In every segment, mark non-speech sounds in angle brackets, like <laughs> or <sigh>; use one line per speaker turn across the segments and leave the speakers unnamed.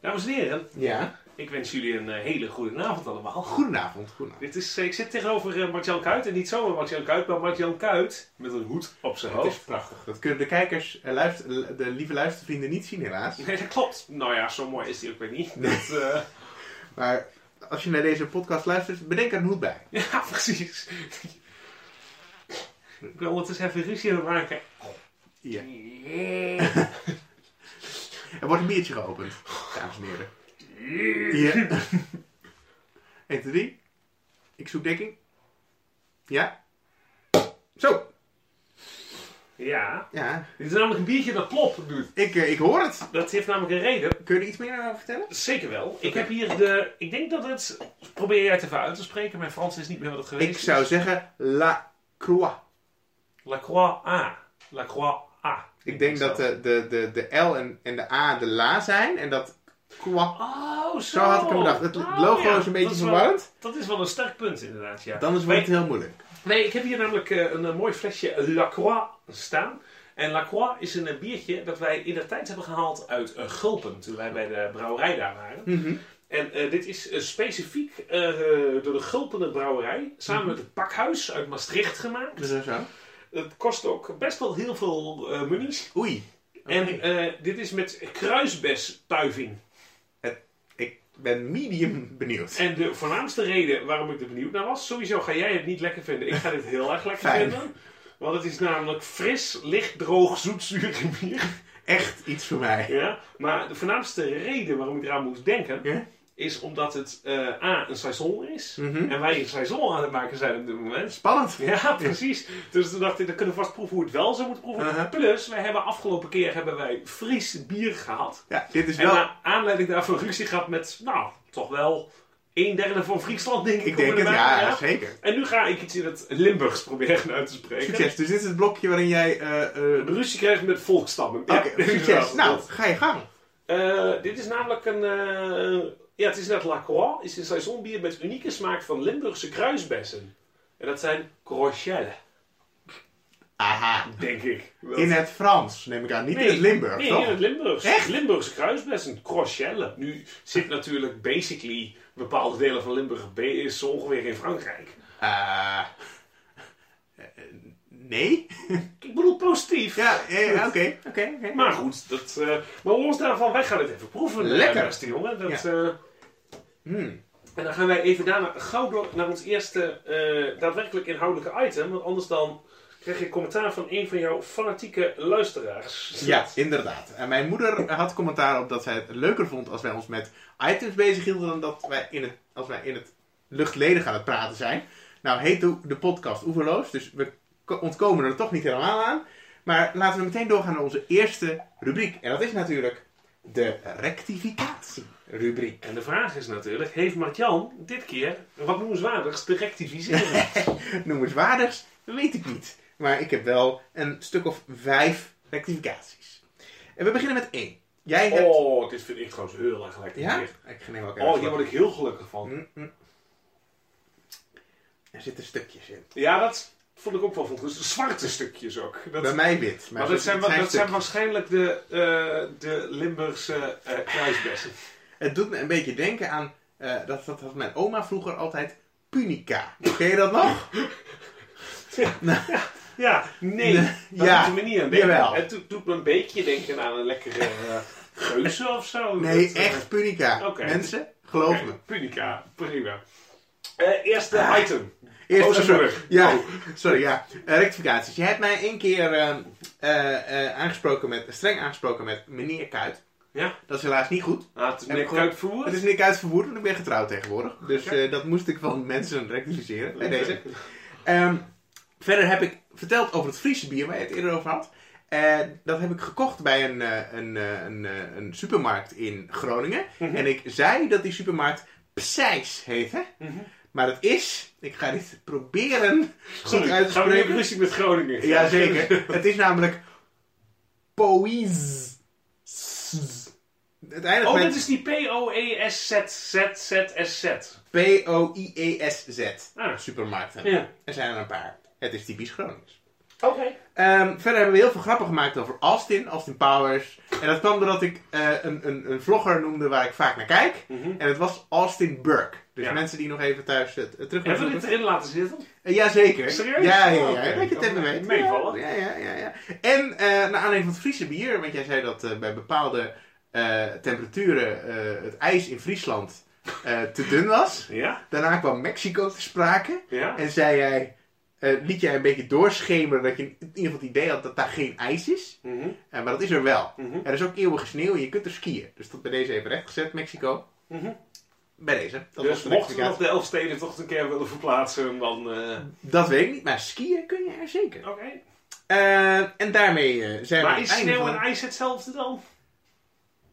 Dames en heren,
Ja.
ik wens jullie een eh, hele goede avond allemaal. <laughs>
Goedenavond, goedenavond.
Dit is, eh, ik zit tegenover eh, Mark-Jan Kuit en niet zomaar Mark-Jan Kuit, maar Mark-Jan Kuit met een hoed op zijn
Het is
hoofd.
prachtig. Dat kunnen de kijkers, eh, luister, de lieve luistervrienden niet zien helaas.
Nee, dat klopt. Nou ja, zo mooi is die ook weer niet. Dat, eh, <laughs>
Maar als je naar deze podcast luistert, bedenk er een hoed bij.
ja, precies. Ik wil het eens even ruzie aan maken.
Ja.
Yeah.
Er wordt een biertje geopend, dames en heren. <laughs>
Yeah.
Ja. 1, 2, 3. Ik zoek dekking. Ja. Zo.
<laughs> Ja,
Ja.
dit is namelijk een biertje dat plop doet.
Ik, eh, ik hoor het.
Dat heeft namelijk een reden.
Kun je er iets meer over vertellen?
Zeker wel. Ik heb hier de... Ik denk dat het... Probeer jij het even uit te spreken. Mijn Frans is niet meer wat het geweest
Ik
is.
zou zeggen La Croix.
La Croix A. La Croix A.
Ik denk dat eh, de, de, de, de L en, en de A de La zijn en dat Croix.
Oh, zo.
Zo had ik hem bedacht. Het
Oh,
logo
ja.
is een beetje
Dat wel-
verwarrend.
Dat is wel een sterk punt, inderdaad, ja.
Dan is
Nee.
het heel moeilijk.
Nee, ik heb hier namelijk eh, een, eh, mooi flesje La Croix staan. En La Croix is een eh, biertje dat wij in de tijd hebben gehaald uit eh, Gulpen, toen wij bij de brouwerij daar waren.
Mhm.
En eh, dit is eh, specifiek eh, eh, door de Gulpener Brouwerij, samen met het Pakhuis uit Maastricht gemaakt.
Mhm. Dus dan zo.
Het kost ook best wel heel veel eh munies.
Oei.
En
Oké.
eh, dit is met kruisbestuiving.
Ik ben medium benieuwd.
En de voornaamste reden waarom ik er benieuwd naar was, sowieso ga jij het niet lekker vinden. Ik ga dit heel erg lekker
Fijn.
vinden. Want het is namelijk fris, licht, droog, zoetzuur bier.
<laughs> Echt iets voor mij.
Ja? Maar de voornaamste reden waarom ik eraan moest denken,
Ja?
is omdat het eh, A, een saison is.
Mhm.
En wij een saison aan het maken zijn op dit moment.
Spannend.
Ja, precies. Dus toen dacht ik, dan kunnen we vast proeven hoe het wel zou moeten proeven.
Uh-huh.
Plus, wij hebben afgelopen keer hebben wij Fries bier gehad.
Ja, dit is
En nou,
wel.
naar aanleiding daarvan ruzie gehad met, nou, toch wel een derde van Friesland, denk ik.
Ik denk het,
Erbij,
ja,
ja.
zeker.
En nu ga ik iets in het Limburgs proberen uit te spreken.
Succes. Dus dit is het blokje waarin jij. eh, eh,
Ruzie krijgt met volkstammen. Ja,
Oké, succes.
<laughs> inderdaad,
Nou,
dat.
ga je gang.
Eh, dit is namelijk een... eh, ja, het is net La Croix. Het is een saisonbier met unieke smaak van Limburgse kruisbessen. En dat zijn crochelle,
Aha.
denk ik. Dat-
In het Frans, neem ik aan. Niet
Nee,
in het Limburg,
Nee,
toch?
in het Limburgs.
Echt?
Limburgse kruisbessen, crochelle. Nu zit natuurlijk basically bepaalde delen van Limburg B is zo ongeveer in Frankrijk.
Eh, eh, nee?
Ik bedoel positief.
Ja,
<laughs>
eh, oké. oké, oké.
Maar goed, dat, eh, maar los daarvan, wij gaan het even proeven. eh,
Lekker.
Beste jongen. Dat,
Ja.
eh,
Hmm.
en dan gaan wij even daarna gauw door naar ons eerste eh, daadwerkelijk inhoudelijke item. Want anders dan krijg je commentaar van een van jouw fanatieke luisteraars.
Ja, inderdaad. En mijn moeder had commentaar op dat zij het leuker vond als wij ons met items bezig hielden dan dat wij in het, als wij in het luchtledig aan het praten zijn. Nou heet de, de podcast Oeverloos, dus we ko- ontkomen er toch niet helemaal aan. Maar laten we meteen doorgaan naar onze eerste rubriek. En dat is natuurlijk de rectificatie-rubriek.
En de vraag is natuurlijk, heeft Martjan dit keer wat noemenswaardigs te
<laughs>
rectificeren?
noemenswaardigs weet ik niet. Maar ik heb wel een stuk of vijf rectificaties. En we beginnen met één. Jij hebt...
oh, dit vind ik trouwens heel erg lekker.
Ja?
hier.
Ik neem ook
Oh,
even
hier
wat.
word ik heel gelukkig van.
Mm, mm. Er zitten stukjes in.
Ja, dat vond ik ook wel van goed. Zwarte stukjes ook. Dat,
Bij mij wit.
Maar dat
ze-
zijn,
het
wa- dat zijn
stukjes.
waarschijnlijk de, eh, de Limburgse eh kruisbessen.
Het doet me een beetje denken aan... eh, dat, dat had mijn oma vroeger altijd punica. Ken je dat nog?
Ja, nee.
Nee,
<laughs> Dat
ja,
doet me niet aan denken.
jawel.
Het doet, doet me een beetje denken aan een lekkere eh, geuze of zo.
Nee,
Dat, eh,
echt punica.
Oké.
Mensen, geloof
oké,
me. Ah,
Punica, prima. Eh, eerste item.
Eerst
Oh, sorry.
Ja, sorry, ja. Eh, rectificaties. Je hebt mij één keer ehm, eh, eh, aangesproken met, streng aangesproken met meneer Kuit.
Ja.
Dat is helaas niet goed.
Nou, het is
Heb
meer
ik gewoon-
kruidvoer.
Het is meneer Kuit verwoord, want ik ben getrouwd tegenwoordig. Dus
Oké.
eh, dat moest ik van mensen rectificeren bij
Lekker.
deze. Ehm, verder heb ik verteld over het Friese bier waar je het eerder over had. Eh, dat heb ik gekocht bij een, eh, een, eh, een, eh, een supermarkt in Groningen.
Mhm.
En ik zei dat die supermarkt Psijs heette.
Mhm.
Maar het is, ik ga dit
<laughs>
proberen goed
Sorry,
uit te
gaan we nu
spreken.
even ruzie met Groningen?
Jazeker. Het is namelijk Poïs. Het eindigt
Oh,
met
dat is die E P-O-E-S-Z-Z-Z-S-Z.
P-O-I-E-S-Z.
Ah,
E Supermarkten.
Ja.
Er zijn er een paar. Het is typisch Gronings.
oké.
Ehm, verder hebben we heel veel grappen gemaakt over Austin, Austin Powers, En dat kwam doordat ik eh, een, een, een vlogger noemde waar ik vaak naar kijk.
Mhm.
En het was Austin Burke. Dus
Ja.
mensen die nog even thuis het het terug
Hebben we
zoeken.
dit erin laten zitten?
Eh, Jazeker.
Serieus?
Ja, ja,
Oh,
ja.
oké.
Dat je het even
Oh,
weet.
meevallen.
Ja, ja, ja. ja. En eh naar aanleiding van het Friese bier, want jij zei dat eh, bij bepaalde eh, temperaturen eh, het ijs in Friesland eh, te dun was.
Ja?
Daarna kwam Mexico te sprake.
Ja?
En zei jij, eh, liet jij een beetje doorschemeren dat je in ieder geval het idee had dat daar geen ijs is.
Mhm.
Eh, maar dat is er wel.
Mhm.
Er is ook eeuwige sneeuw en je kunt er skiën. Dus dat bij deze even rechtgezet, Mexico.
Mhm.
Bij deze. Dat was
Dus mochten
de
we nog
rectificatie.
de Elfsteden toch een keer willen verplaatsen, dan... eh,
Dat weet ik niet, maar skiën kun je er zeker.
Oké.
Eh, en daarmee eh, zijn we
Maar
aan
is
het einde
sneeuw
van-
en ijs hetzelfde dan?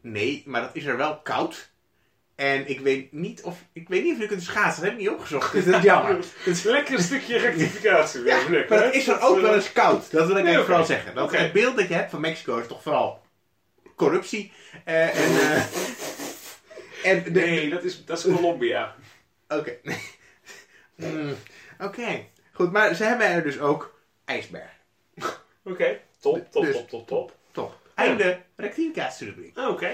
Nee, maar dat is er wel koud. En ik weet niet of... Ik weet niet of je kunt schaatsen. Dat heb ik niet opgezocht. <laughs> Dus dat is jammer. Dus-
Lekker een
<laughs>
stukje rectificatie weer.
ja,
Lekker,
maar
hè?
dat is er ook wel eens koud. Dat wil
Nee,
ik even
oké.
vooral zeggen. Dat
Oké.
Het beeld dat je hebt van Mexico is toch vooral corruptie. Eh, en... eh,
<laughs>
en de-
Nee, dat is, dat is Colombia.
Oké. <laughs> Hmm, Oké. Goed, maar ze hebben er dus ook ijsberg.
Oké. Top, top,
Dus-
top, top, top.
Top. Einde rectificatierubriek.
Ah, Oké.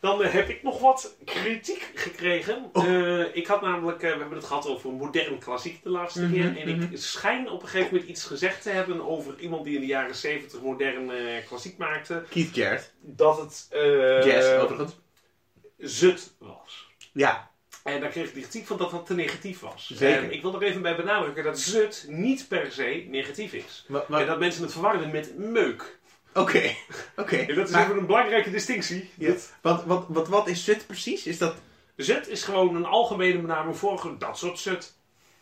Dan eh, heb ik nog wat kritiek gekregen.
Oh.
Eh, ik had namelijk, eh, we hebben het gehad over modern klassiek de laatste
Mhm,
keer. En ik schijn op een gegeven moment iets gezegd te hebben over iemand die in de jaren 70 modern eh, klassiek maakte.
Keith Jarrett.
Dat het eh,
Jazz, overigens.
zut was.
Ja.
En daar kreeg ik de kritiek van dat dat te negatief was.
Zeker.
En ik wil er even bij benadrukken dat zut niet per se negatief is.
wa- wa-
En dat mensen het verwarren met meuk.
Oké. <laughs> Oké.
En dat is
Maar-
even een belangrijke distinctie.
Ja. Wat, wat, wat, wat is zut precies? Is dat
Zut is gewoon een algemene benaming voor gewoon dat soort zut.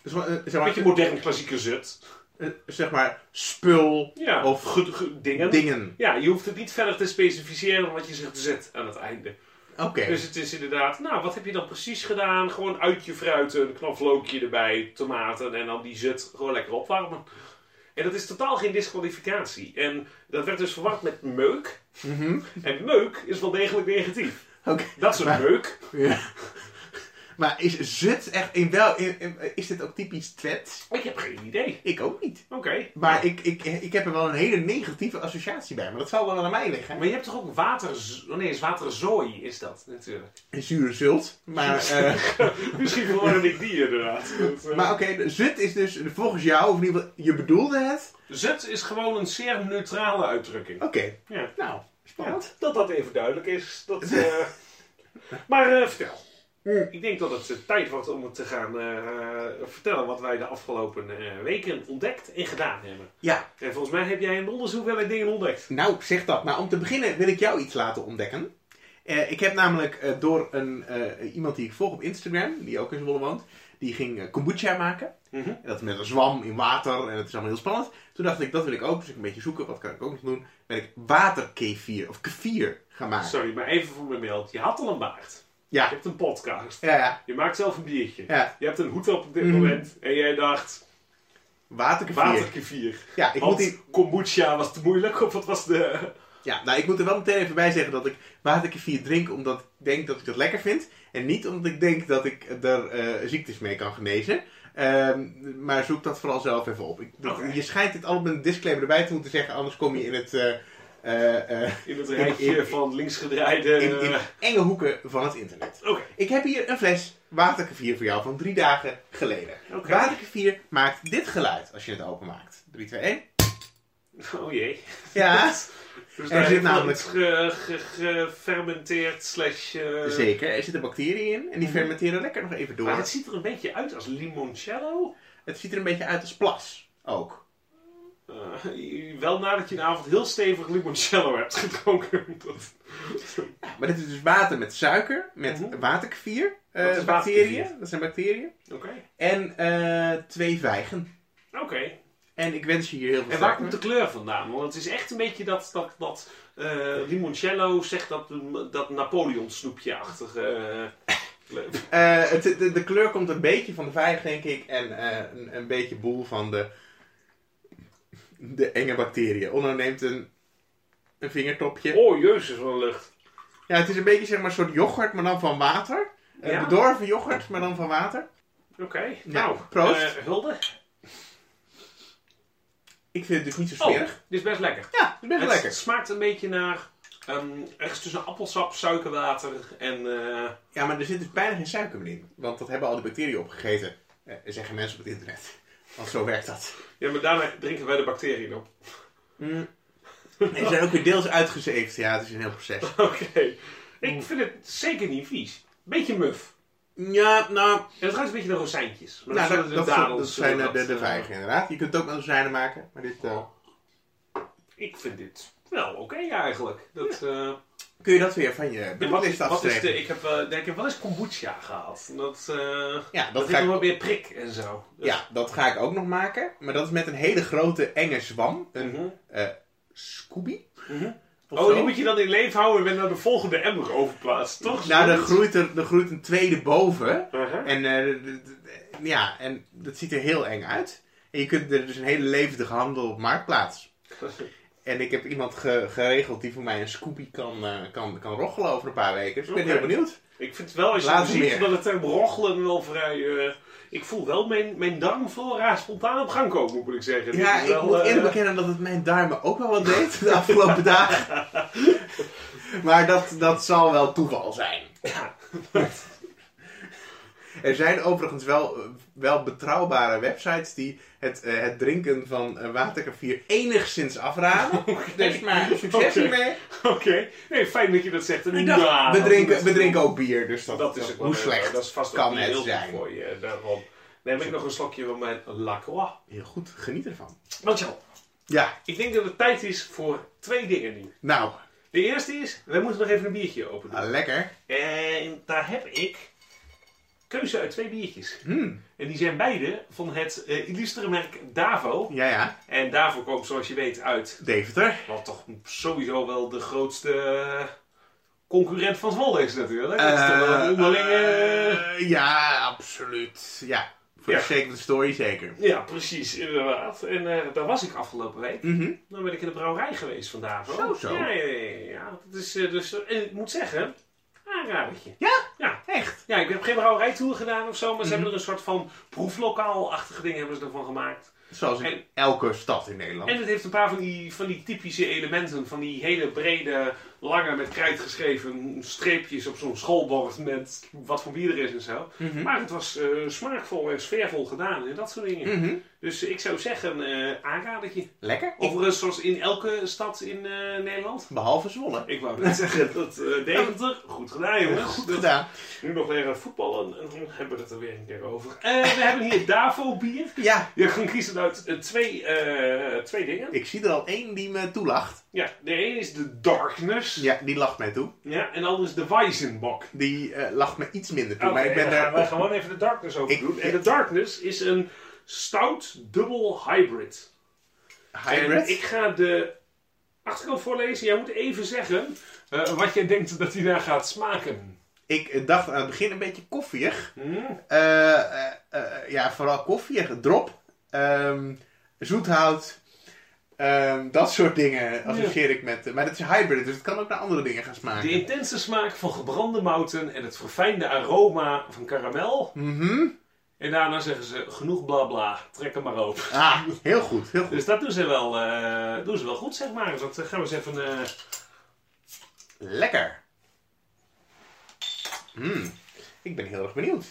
is wel, eh, zeg
Een
maar,
beetje modern klassieke zut.
eh, zeg maar spul
Ja.
of
Ge- ge- dingen.
dingen?
Ja, je hoeft het niet verder te specificeren, want je zegt zet aan het einde.
Oké.
Dus het is inderdaad, nou, wat heb je dan precies gedaan? Gewoon uit je fruit, een knoflookje erbij, tomaten en dan die zut gewoon lekker opwarmen. En dat is totaal geen disqualificatie. En dat werd dus verward met meuk.
Mhm.
En meuk is wel degelijk negatief.
Oké.
Dat is een
Maar-
meuk.
Ja. Maar is zut echt in wel... in- in- is dit ook typisch Twents?
Ik heb geen idee.
Ik ook niet.
Oké.
Maar ik, ik, ik heb er wel een hele negatieve associatie bij. Maar dat zal wel aan mij liggen.
Maar je hebt toch ook water... Oh nee, is waterzooi is dat natuurlijk.
Een zure zult. Maar, eh,
<laughs> Misschien verwarren ik die inderdaad. Dat, eh,
maar oké, de zut is dus volgens jou, of in ieder geval, je bedoelde het.
Zut Dus is gewoon een zeer neutrale uitdrukking.
Oké,
Ja.
nou, spannend.
Ah, dat dat even duidelijk is.
<laughs>
Dat, eh, Maar eh, vertel.
Hmm.
Ik denk dat het eh, tijd wordt om te gaan eh, vertellen wat wij de afgelopen eh, weken ontdekt en gedaan hebben.
Ja,
En volgens mij heb jij in het onderzoek wel wat dingen ontdekt.
nou zeg dat. Maar om te beginnen wil ik jou iets laten ontdekken. Eh, ik heb namelijk eh, door een, eh, iemand die ik volg op Instagram, die ook in Zwolle woont, die ging eh, kombucha maken.
Mhm.
En dat met een zwam in water en dat is allemaal heel spannend. Toen dacht ik, dat wil ik ook. Dus ik een beetje zoeken, wat kan ik ook nog doen? Ben ik waterkefir of kefir gaan maken.
Sorry, maar even voor mijn beeld. Je had al een baard. Je
Ja,
hebt een podcast.
ja, ja.
Je maakt zelf een biertje.
ja.
Je hebt een hoed op op dit
Mhm.
moment. En jij dacht,
Waterkefir.
waterkevier.
Ja, ik moet
Want
die...
kombucha was te moeilijk of wat was de...
Ja, nou, ik moet er wel meteen even bij zeggen dat ik waterkefir drink omdat ik denk dat ik dat lekker vind. En niet omdat ik denk dat ik er eh, ziektes mee kan genezen. Ehm, maar zoek dat vooral zelf even op. Ik, dat-
Oké.
Je schijnt dit allemaal met een disclaimer erbij te moeten zeggen, anders kom je in het... eh, eh, eh,
In het
In-
rijtje
in-
van linksgedraaide...
in, in
eh,
enge hoeken van het internet.
Oké.
Ik heb hier een fles waterkefir voor jou van drie dagen geleden.
Oké.
Waterkefir maakt dit geluid als je het openmaakt. 3, 2, 1.
Oh jee.
Ja,
Dus
Er
daar
zit
zit
namelijk-
namelijk ge, ge- gefermenteerd slash... <laughs> eh, Mhm.
zeker. Er zitten bacteriën in en die fermenteren lekker nog even door.
Maar het ziet er een beetje uit als limoncello.
Het ziet er een beetje uit als plas ook.
Eh, wel nadat je een avond heel stevig limoncello hebt gedronken. <laughs> Dat-
Ja, maar dit is dus water met suiker, met
Mhm.
waterkefir, eh,
Wat is
bacteriën.
waterkefir?
Dat zijn bacteriën.
Oké.
En eh, twee vijgen.
Oké.
En ik wens je hier heel veel
En waar
sterkte
komt
mee.
de kleur vandaan? Want het is echt een beetje dat, dat, dat eh, limoncello, zegt dat, dat Napoleon snoepje-achtige... eh, kleur.
Eh, het- de, de kleur komt een beetje van de vijg, denk ik. En eh, een, een beetje boel van de, de enge bacteriën. Onno neemt een, een vingertopje.
Oh, jezus, wat een lucht.
Ja, het is een beetje zeg maar een soort yoghurt, maar dan van water. Eh,
Ja.
Bedorven yoghurt, maar dan van water.
Oké. Nou,
proost.
eh, hulde.
Ik vind het dus niet zo
Oh,
smerig. dus
dit is best lekker.
Oh, Ja, het is best
het
lekker.
smaakt een beetje naar Ehm, ergens tussen appelsap, suikerwater en... eh,
Ja, maar er zit dus bijna geen suiker meer in. Want dat hebben al die bacteriën opgegeten, eh, zeggen mensen op het internet. Want zo werkt dat.
Ja, maar daarna drinken wij de bacteriën op. <laughs>
Mm. En ze zijn ook weer deels uitgezeefd. Ja, het is een heel proces.
Oké. Ik vind het zeker niet vies. Beetje muf.
Ja, nou,
En het ruikt een beetje naar rozijntjes. Maar
nou
dan
dat,
zijn
dat,
het de dadels,
dat zijn
eh,
eh, de, de
eh,
vijgen inderdaad. Je kunt het ook met rozijnen maken, maar dit... eh,
Ik vind dit wel oké eigenlijk. Dat, eh,
kun je dat weer van je
en wat, is,
bedoelist
wat is
afstrepen?
de, ik heb, eh, denk ik, wat is kombucha gehaald? Dat, eh
Ja,
dat heeft
dat ga
nog
ik
wel meer prik en zo. Dus-
Ja, dat ga ik ook nog maken. Maar dat is met een hele grote enge zwam. Een
Mhm.
eh, Scooby.
Mhm.
Of
Oh,
zo.
die moet je dan in leven houden en naar de volgende emmer overplaatst, toch?
Nou, er groeit, er, er groeit een tweede boven.
Uh-huh.
En, eh, d- d- d- ja, en dat ziet er heel eng uit. En je kunt er dus een hele levendige handel op marktplaats. En ik heb iemand ge- geregeld die voor mij een Scooby kan, eh, kan, kan roggelen over een paar weken. Dus ik ben
Oké.
heel benieuwd.
Ik vind wel, als je
Later
het ziet,
meer.
dat het term rochelen wel vrij... eh, ik voel wel mijn, mijn darmflora spontaan op gang komen, moet ik zeggen.
Ja,
Dit is
ik
wel,
moet eerlijk
eh,
bekennen dat het mijn duimen ook wel wat deed de afgelopen dagen.
<laughs>
Maar dat, dat zal wel toeval zijn.
Ja.
<laughs> Er zijn overigens wel, eh, wel betrouwbare websites die het, eh, het drinken van eh, waterkavier
<laughs>
enigszins afraden. Dus maar succes
Oké.
hiermee.
eh, <laughs> Oké. Nee, fijn dat je dat zegt. En
Ik dacht,
ja,
we,
dat-
drinken, we drinken ook bier, dus dat,
Dat, is
dat-
het wel
hoe
leuk.
slecht
Dat is vast ook
kan
niet heel
het
goed
zijn.
voor je. Daarom neem ik nog een slokje van mijn Lacroix.
Heel goed, geniet ervan.
Marcel,
Ja,
ik denk dat het tijd is voor twee dingen nu.
nou,
De eerste is, wij moeten nog even een biertje open doen.
ah, lekker.
En daar heb ik keuze uit twee biertjes.
Hmm,
En die zijn beide van het eh, illustere merk Davo.
Ja, ja,
En Davo komt, zoals je weet, uit
Deventer.
wat toch sowieso wel de grootste eh, concurrent van Zwolle is natuurlijk. Dat is toch wel een
Eh,
onderlinge...
eh, ja, absoluut. Ja, voor
Ja.
de sake of the story zeker.
Ja, precies, inderdaad. En eh, daar was ik afgelopen week.
Mhm.
Dan ben ik in de brouwerij geweest vandaag. hoor.
Zo, zo.
Ja, ja, ja. ja. Dat is, eh, dus, en ik moet zeggen, aanradertje.
Echt?
Ja, ik heb geen brouwerijtour gedaan of zo, maar
Mhm.
ze hebben er een soort van proeflokaal-achtige ding hebben ze ervan gemaakt.
Zoals in elke stad in Nederland.
En het heeft een paar van die, van die typische elementen, van die hele brede, lange met krijt geschreven streepjes op zo'n schoolbord met wat voor bier er is en zo.
Mhm.
Maar het was eh, smaakvol en sfeervol gedaan en dat soort dingen.
Mhm.
Dus eh, ik zou zeggen, eh aanradertje.
Lekker.
Overigens, zoals in elke stad in eh, Nederland.
Behalve Zwolle.
Ik wou
<laughs>
net zeggen, dat eh Deventer, goed gedaan jongens.
Goed
Dat-
gedaan.
Nu nog leren voetballen en dan hebben we het er weer een keer over. Eh, we hebben hier <laughs> Davo bier.
Ja,
Je kan kiezen uit eh, twee, eh, twee dingen.
ik zie er al één die me toelacht.
Ja, de ene is de Darkness. Ja.
Ja, die lacht mij toe.
en de andere is de Weizenbok.
Die eh, lacht me iets minder toe.
Oké,
maar ik ben
dan gaan
daar...
we gewoon even de Darkness over
Ik-
doen. En
ik-
de Darkness is een stout dubbel hybrid. En
Hybrid?
ik ga de achterkant voorlezen. Jij moet even zeggen eh, wat jij denkt dat hij daar gaat smaken.
Ik eh, dacht aan het begin een beetje koffieig.
Hm?
Eh, eh, eh, ja, vooral koffieig. Drop. Ehm, zoethout. Ehm, dat soort dingen associeer ik met... eh, maar dat is hybrid, dus het kan ook naar andere dingen gaan smaken.
De intense smaak van gebrande mouten en het verfijnde aroma van karamel.
Mhm.
En daarna zeggen ze genoeg bla bla, trek hem maar open.
Ah, heel goed, heel goed.
Dus dat doen ze wel, eh, doen ze wel goed, zeg maar. Dus dat eh, gaan we eens even. eh,
Lekker. Mm, Ik ben heel erg benieuwd.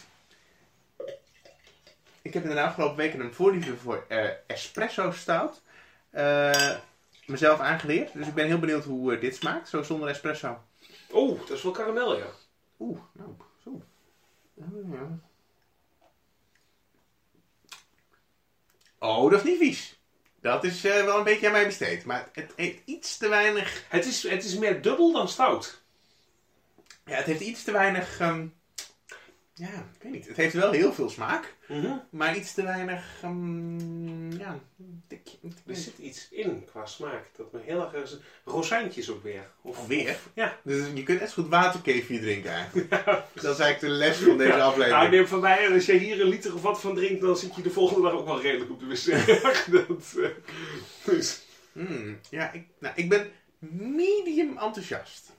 Ik heb in de afgelopen weken een voorliefde voor eh, espresso stout. eh, mezelf aangeleerd. Dus ik ben heel benieuwd hoe eh, dit smaakt, zo zonder espresso.
Oh, dat is wel karamel, ja.
Oeh, nou, zo. Oh, ja. Oh, dat is niet vies. Dat is eh, wel een beetje aan mij besteed. Maar het heeft iets te weinig
Het is, het is meer dubbel dan stout.
Ja, het heeft iets te weinig. ehm, ja, ik weet niet. Het heeft wel heel veel smaak,
Mhm.
maar iets te weinig. ehm, ja, een tikje. een tikje-
Er zit iets in qua smaak. Dat me heel erg. ergens- Rozijntjes ook weer. Of
Alweer?
Ja.
Dus je kunt net zo goed waterkefir drinken eigenlijk. Dat is eigenlijk de les van deze aflevering.
Nou, ik neem van mij, als jij hier een liter of wat van drinkt, dan zit je de volgende dag ook wel redelijk op de wc. <laughs> dat, eh, dus,
Mm, ja, ik, nou, ik ben medium enthousiast.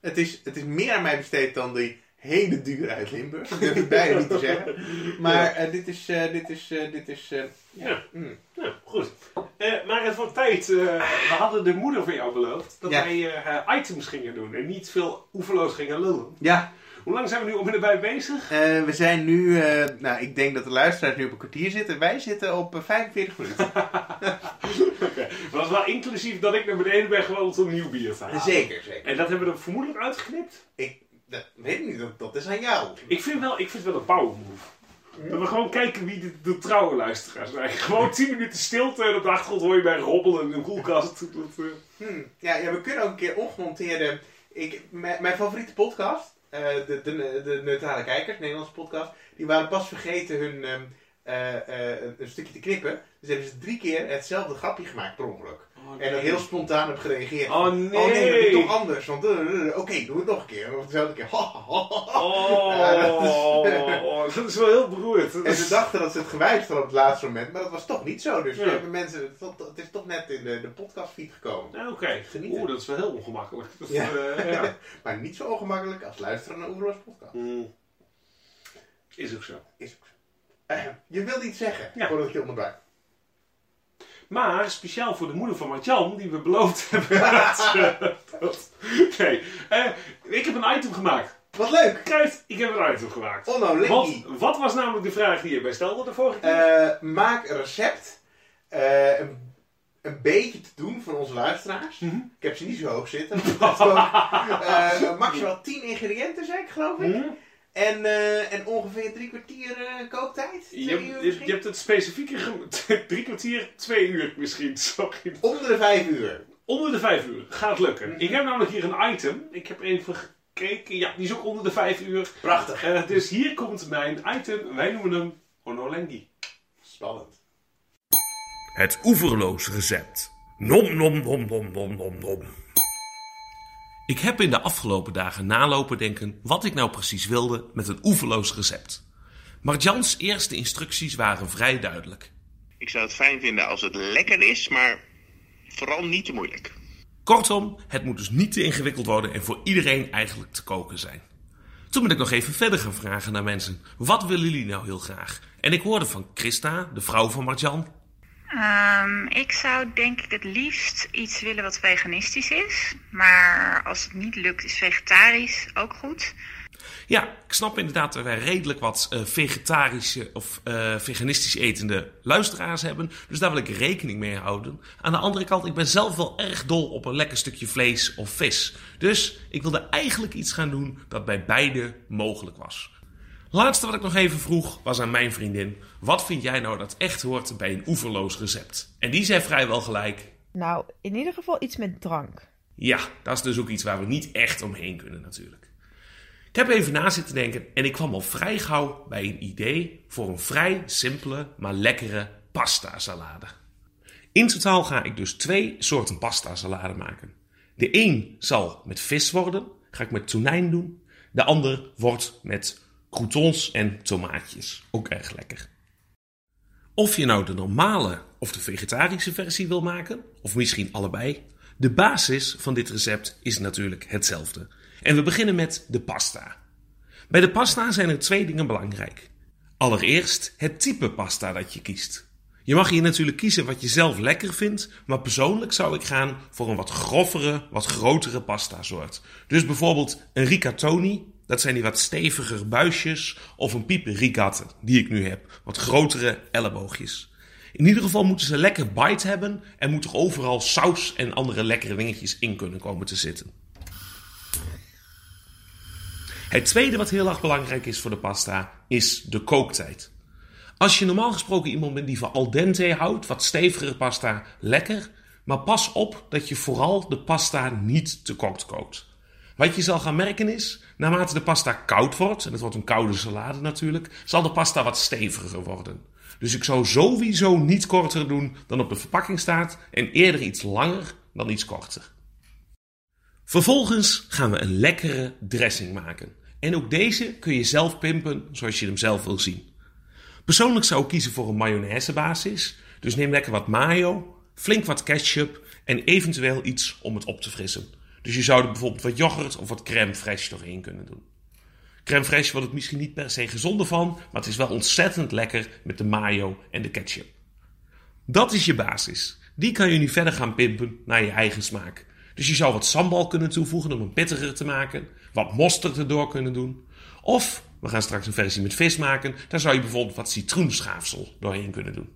Het is, het is meer aan mij besteed dan die hele duur uit Limburg. Dat durf ik bijna niet te zeggen. Maar eh, dit is... eh, dit is, eh, dit is eh, ja.
Ja.
mm.
Nou, goed. Eh, maar het wordt tijd. eh, we hadden de moeder van jou beloofd dat
Ja.
wij eh, items gingen doen en niet veel oeverloos gingen lullen.
ja
Hoe lang zijn we nu om en erbij bezig?
eh, we zijn nu... eh, nou, ik denk dat de luisteraars nu op een kwartier zitten. Wij zitten op eh, 45 minuten.
Maar Dat is wel inclusief dat ik naar beneden ben gewandeld om nieuw bier te halen.
<laughs> zeker.
En dat hebben we er vermoedelijk uitgeknipt.
Ik dat weet ik niet, dat, dat is aan jou.
Ik vind, wel, ik vind het wel een power move. Dat we gewoon kijken wie de, de trouwe luisteraars zijn. <laughs> Gewoon 10 minuten stilte en op de achtergrond hoor je bij robbelen in de koelkast. Dat, eh,
Hmm. Ja, ja, we kunnen ook een keer ongemonteerde. Ik, mijn, mijn favoriete podcast, eh, de, de, de Neutrale Kijkers, Nederlandse podcast, die waren pas vergeten hun ehm, eh, eh, een stukje te knippen. Dus hebben ze drie keer hetzelfde grapje gemaakt per ongeluk. En dan heel spontaan op gereageerd.
Oh nee!
Oh nee, dat is toch anders. Want eh, eh, eh, oké, doe het nog een keer. Of dezelfde keer. <laughs> Ja, dat is-
Oh, oh, dat is wel heel beroerd.
En ze dachten dat ze het gewijzigd hadden op het laatste moment, maar dat was toch niet zo. Dus
Ja.
hebben mensen, het, tot- het is toch net in de, de podcastfeed gekomen.
Ja, Oké,
Genieten.
oeh, dat is wel heel ongemakkelijk. Dat,
Ja.
eh, ja.
Maar niet zo ongemakkelijk als luisteren naar Oero's podcast.
Hmm. Is ook zo.
Is ook zo. Eh, je wilde iets zeggen
Ja.
voordat ik je onderbrak.
Maar speciaal voor de moeder van Martjan, die we beloofd <laughs> hebben. dat, eh, dat- nee, Eh, ik heb een item gemaakt.
Wat leuk!
Kruid, ik heb een item gemaakt.
Onno
Wat,
Linky.
wat was namelijk de vraag die je bij stelde de vorige keer?
Eh, maak een recept. eh, een, een beetje te doen voor onze luisteraars.
Mhm.
Ik heb ze niet zo hoog zitten. Dat is
<laughs>
gewoon, eh, maximaal 10 ingrediënten, zei ik geloof ik.
Hm?
En, eh, en ongeveer drie kwartier eh, kooktijd. Twee
Je,
uur
hebt- je,
misschien.
je hebt het specifieke ge- <laughs> drie kwartier, twee uur misschien. Sorry.
Onder de vijf uur.
Onder de vijf uur gaat lukken.
Mhm.
Ik heb namelijk hier een item. Ik heb even gekeken. Ja, die is ook onder de vijf uur.
Prachtig.
Eh, dus hier komt mijn item. Wij noemen hem Onolengi.
Spannend.
Het oeverloos recept. Nom nom nom nom nom nom nom. Ik heb in de afgelopen dagen nalopen denken wat ik nou precies wilde met een oeverloos recept. Maar Jans eerste instructies waren vrij duidelijk.
Ik zou het fijn vinden als het lekker is, maar vooral niet te moeilijk.
Kortom, het moet dus niet te ingewikkeld worden en voor iedereen eigenlijk te koken zijn. Toen ben ik nog even verder gaan vragen naar mensen. Wat willen jullie nou heel graag? En ik hoorde van Christa, de vrouw van Marjan,
Ehm, ik zou denk ik het liefst iets willen wat veganistisch is. Maar als het niet lukt, is vegetarisch ook goed.
Ja, ik snap inderdaad dat wij redelijk wat eh, vegetarische of eh, veganistisch etende luisteraars hebben. Dus daar wil ik rekening mee houden. Aan de andere kant, ik ben zelf wel erg dol op een lekker stukje vlees of vis. Dus ik wilde eigenlijk iets gaan doen dat bij beide mogelijk was. Laatste wat ik nog even vroeg was aan mijn vriendin: wat vind jij nou dat echt hoort bij een oeverloos recept? En die zei vrijwel gelijk:
Nou, in ieder geval iets met drank.
ja, dat is dus ook iets waar we niet echt omheen kunnen natuurlijk. Ik heb even na zitten denken en ik kwam al vrij gauw bij een idee voor een vrij simpele, maar lekkere pasta salade. In totaal ga ik dus twee soorten pasta salade maken. De een zal met vis worden, ga ik met tonijn doen. De ander wordt met croutons en tomaatjes, ook erg lekker. Of je nou de normale of de vegetarische versie wil maken, of misschien allebei, de basis van dit recept is natuurlijk hetzelfde. En we beginnen met de pasta. Bij de pasta zijn er twee dingen belangrijk. Allereerst het type pasta dat je kiest. Je mag hier natuurlijk kiezen wat je zelf lekker vindt, maar persoonlijk zou ik gaan voor een wat groffere, wat grotere pasta soort. Dus bijvoorbeeld een rigatoni, dat zijn die wat steviger buisjes, of een pieper rigatte, die ik nu heb, wat grotere elleboogjes. In ieder geval moeten ze lekker bite hebben en moet er overal saus en andere lekkere dingetjes in kunnen komen te zitten. Het tweede wat heel erg belangrijk is voor de pasta is de kooktijd. Als je normaal gesproken iemand bent die van al dente houdt, wat stevigere pasta, lekker. Maar pas op dat je vooral de pasta niet te kort kookt. Wat je zal gaan merken is, naarmate de pasta koud wordt, en het wordt een koude salade natuurlijk, zal de pasta wat steviger worden. Dus ik zou sowieso niet korter doen dan op de verpakking staat en eerder iets langer dan iets korter. Vervolgens gaan we een lekkere dressing maken. En ook deze kun je zelf pimpen zoals je hem zelf wil zien. Persoonlijk zou ik kiezen voor een mayonaise basis. Dus neem lekker wat mayo, flink wat ketchup en eventueel iets om het op te frissen. Dus je zou er bijvoorbeeld wat yoghurt of wat crème fraîche doorheen kunnen doen. Crème fraîche wordt het misschien niet per se gezonder van, maar het is wel ontzettend lekker met de mayo en de ketchup. Dat is je basis. Die kan je nu verder gaan pimpen naar je eigen smaak. Dus je zou wat sambal kunnen toevoegen om het bitterder te maken, wat mosterd erdoor kunnen doen. Of, we gaan straks een versie met vis maken, daar zou je bijvoorbeeld wat citroenschaafsel doorheen kunnen doen.